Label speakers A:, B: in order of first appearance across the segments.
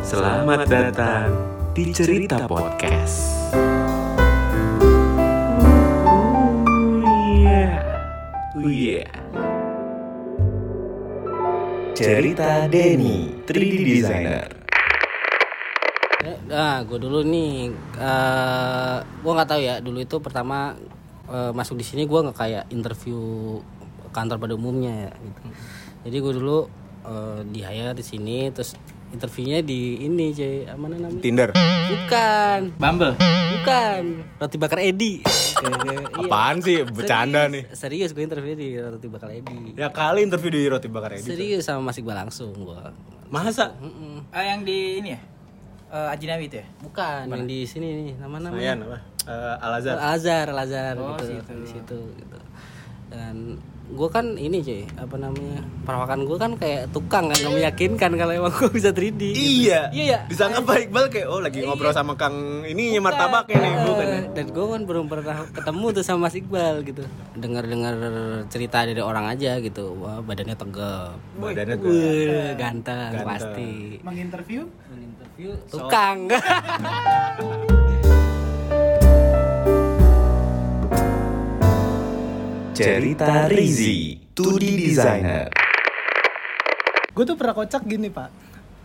A: Selamat datang Oh di Cerita Podcast. Iya. Iya. Cerita Denny, 3D designer.
B: Eh, Ah, gue dulu nih, eh gue nggak tahu ya. Dulu itu pertama eh, masuk di sini gue nggak kayak interview kantor pada umumnya ya. Gitu.
C: Hmm.
B: Jadi gue dulu eh, di hire di sini, terus interviewnya di ini cuy, Ah, mana namanya?
D: Tinder.
B: Bukan,
C: Bumble.
B: bukan. Roti bakar Edi.
D: Apaan sih bercanda nih?
B: Serius gue interview di roti bakar
C: Gitu.
B: Edi.
D: Ya kali interview di roti bakar Edi.
B: Serius sama Mas Iqbal langsung gue.
D: Masa?
C: Ah, yang di ini ya? Eh, Ajinawi itu ya?
B: Bukan yang di sini nih, nama-nama.
D: Ayan apa? Eh, Al Azhar.
B: Al Azhar, Al Azhar
D: Oh,
B: gitu di situ gitu. Dan gue kan ini cuy, apa namanya? Perawakan gue kan kayak tukang kan, gak meyakinkan kalau emang gue bisa 3D. gitu.
D: Iya.
B: Iya ya.
D: Disangka Pak Iqbal kayak oh lagi ngobrol sama Kang ininya martabak ya nih
B: Eh,
D: bukan. ya?
B: Dan gue kan belum pernah ketemu tuh sama Mas Iqbal gitu. Dengar-dengar cerita dari orang aja gitu. Wah, badannya tegap.
D: Badannya tuh.
B: Wih, ganteng, pasti.
C: Menginterview?
B: Menginterview tukang.
A: Cerita Rizy, 2D designer.
E: Gue tuh pernah kocak gini pak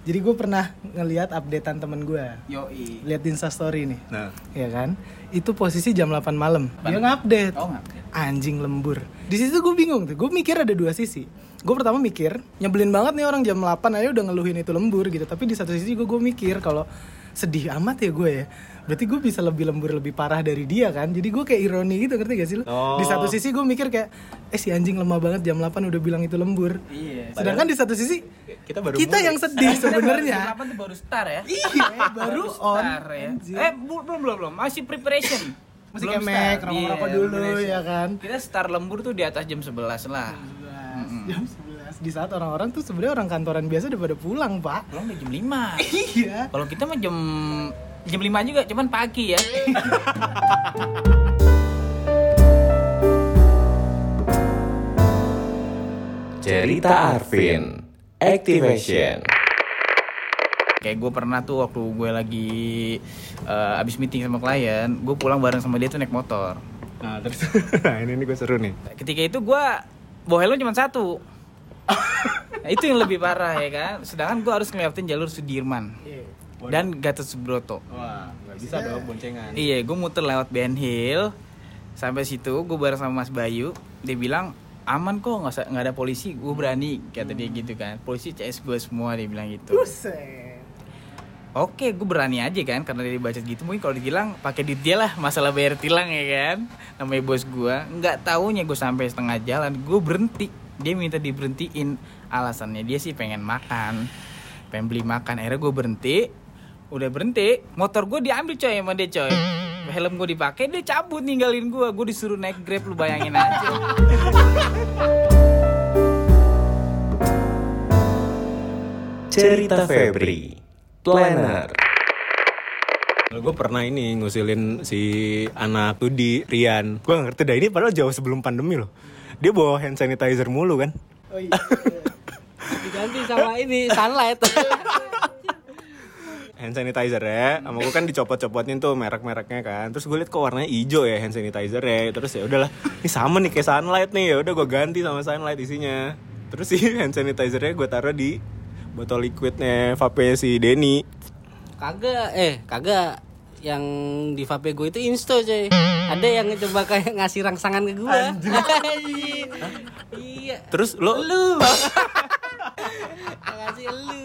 E: Jadi gue pernah ngelihat updatean temen gue
C: Yoi.
E: Lihat di instastory nih
D: Nah.
E: Ya kan Itu posisi jam 8 malam Dia ngupdate
C: Oh, ngupdate.
E: Anjing lembur Di situ gue bingung tuh Gue mikir ada dua sisi Gue pertama mikir Nyebelin banget nih orang jam 8 aja udah ngeluhin itu lembur gitu Tapi di satu sisi gue gue mikir kalau Sedih amat ya gue ya Berarti gue bisa lebih lembur lebih parah dari dia kan Jadi gue kayak ironi gitu ngerti gak sih lo?
C: Oh.
E: Di satu sisi gue mikir kayak Eh si anjing lemah banget jam 8 udah bilang itu lembur
C: Iya.
E: Sedangkan di satu sisi
D: Kita baru
E: kita yang sedih
C: Jam
E: sebenarnya.
C: 8 tuh baru start ya?
E: Iya, baru on.
C: Start ya?
E: Anjir.
C: Eh, bu- belum, belum, belum. Masih preparation.
E: Masih
C: Belum
E: kemek,
C: start.
E: rokok-rokok
C: Iya,
E: dulu,
C: preparation.
E: ya kan?
C: Kita start lembur tuh di atas jam 11 lah.
E: Jam 11. Di saat orang-orang tuh sebenarnya orang kantoran biasa udah pada pulang, Pak.
C: Belum udah jam 5.
E: Iya.
C: Kalau kita mah jam jam 5 juga, cuman pagi ya.
A: Cerita Arvin, activation.
C: Kayak gue pernah tuh waktu gue lagi eh, abis meeting sama klien, gue pulang bareng sama dia tuh naik motor.
D: Nah, terus ini ini gue seru nih.
C: ketika itu gua bawa helm cuma satu Nah, itu yang lebih parah ya kan sedangkan gua harus ngelewatin jalur Sudirman dan Gatot Subroto
D: Wah, nggak bisa dong boncengan.
C: iya gua muter lewat Ben Hill sampai situ gua bareng sama Mas Bayu dia bilang aman kok nggak usah- nggak ada polisi gua berani kata dia gitu kan polisi CS gua semua dia bilang gitu
E: Buset.
C: Oke, gue berani aja kan karena dia dibaca gitu mungkin kalau dibilang pakai duit dia lah masalah bayar tilang ya kan. Namanya bos gue, nggak taunya gue sampai setengah jalan, gue berhenti. Dia minta diberhentiin, alasannya dia sih pengen makan, pengen beli makan. Akhirnya gue berhenti, udah berhenti, motor gue diambil coy sama dia coy. Helm gue dipakai, dia cabut ninggalin gue, gue disuruh naik grab lu bayangin aja.
A: Cerita Febri, planner.
D: Kalau gue pernah ini ngusilin si anak tuh di Rian. Gue ngerti dah ini padahal jauh sebelum pandemi loh. Dia bawa hand sanitizer mulu kan.
E: Oh iya.
B: Diganti sama ini sunlight.
D: hand sanitizer ya sama gue kan dicopot-copotin tuh merek-mereknya kan terus gue liat kok warnanya hijau ya hand sanitizer ya terus ya udahlah ini sama nih kayak sunlight nih ya udah gue ganti sama sunlight isinya terus si hand sanitizernya gue taruh di botol liquidnya vape si Denny
B: kagak eh kagak yang di vape gue itu insto coy ada yang coba kayak ngasih rangsangan ke gue iya
D: terus lo
B: lu Yang ngasih lu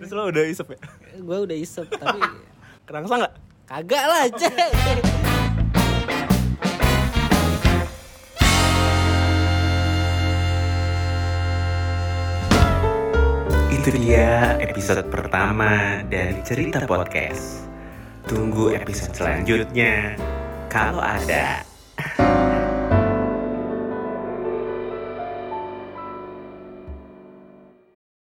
D: terus lo udah isep ya
B: gue udah isep tapi
D: kerangsa nggak
B: kagak lah coy
A: Itu dia episode pertama dari Cerita Podcast. Tunggu episode selanjutnya kalau ada.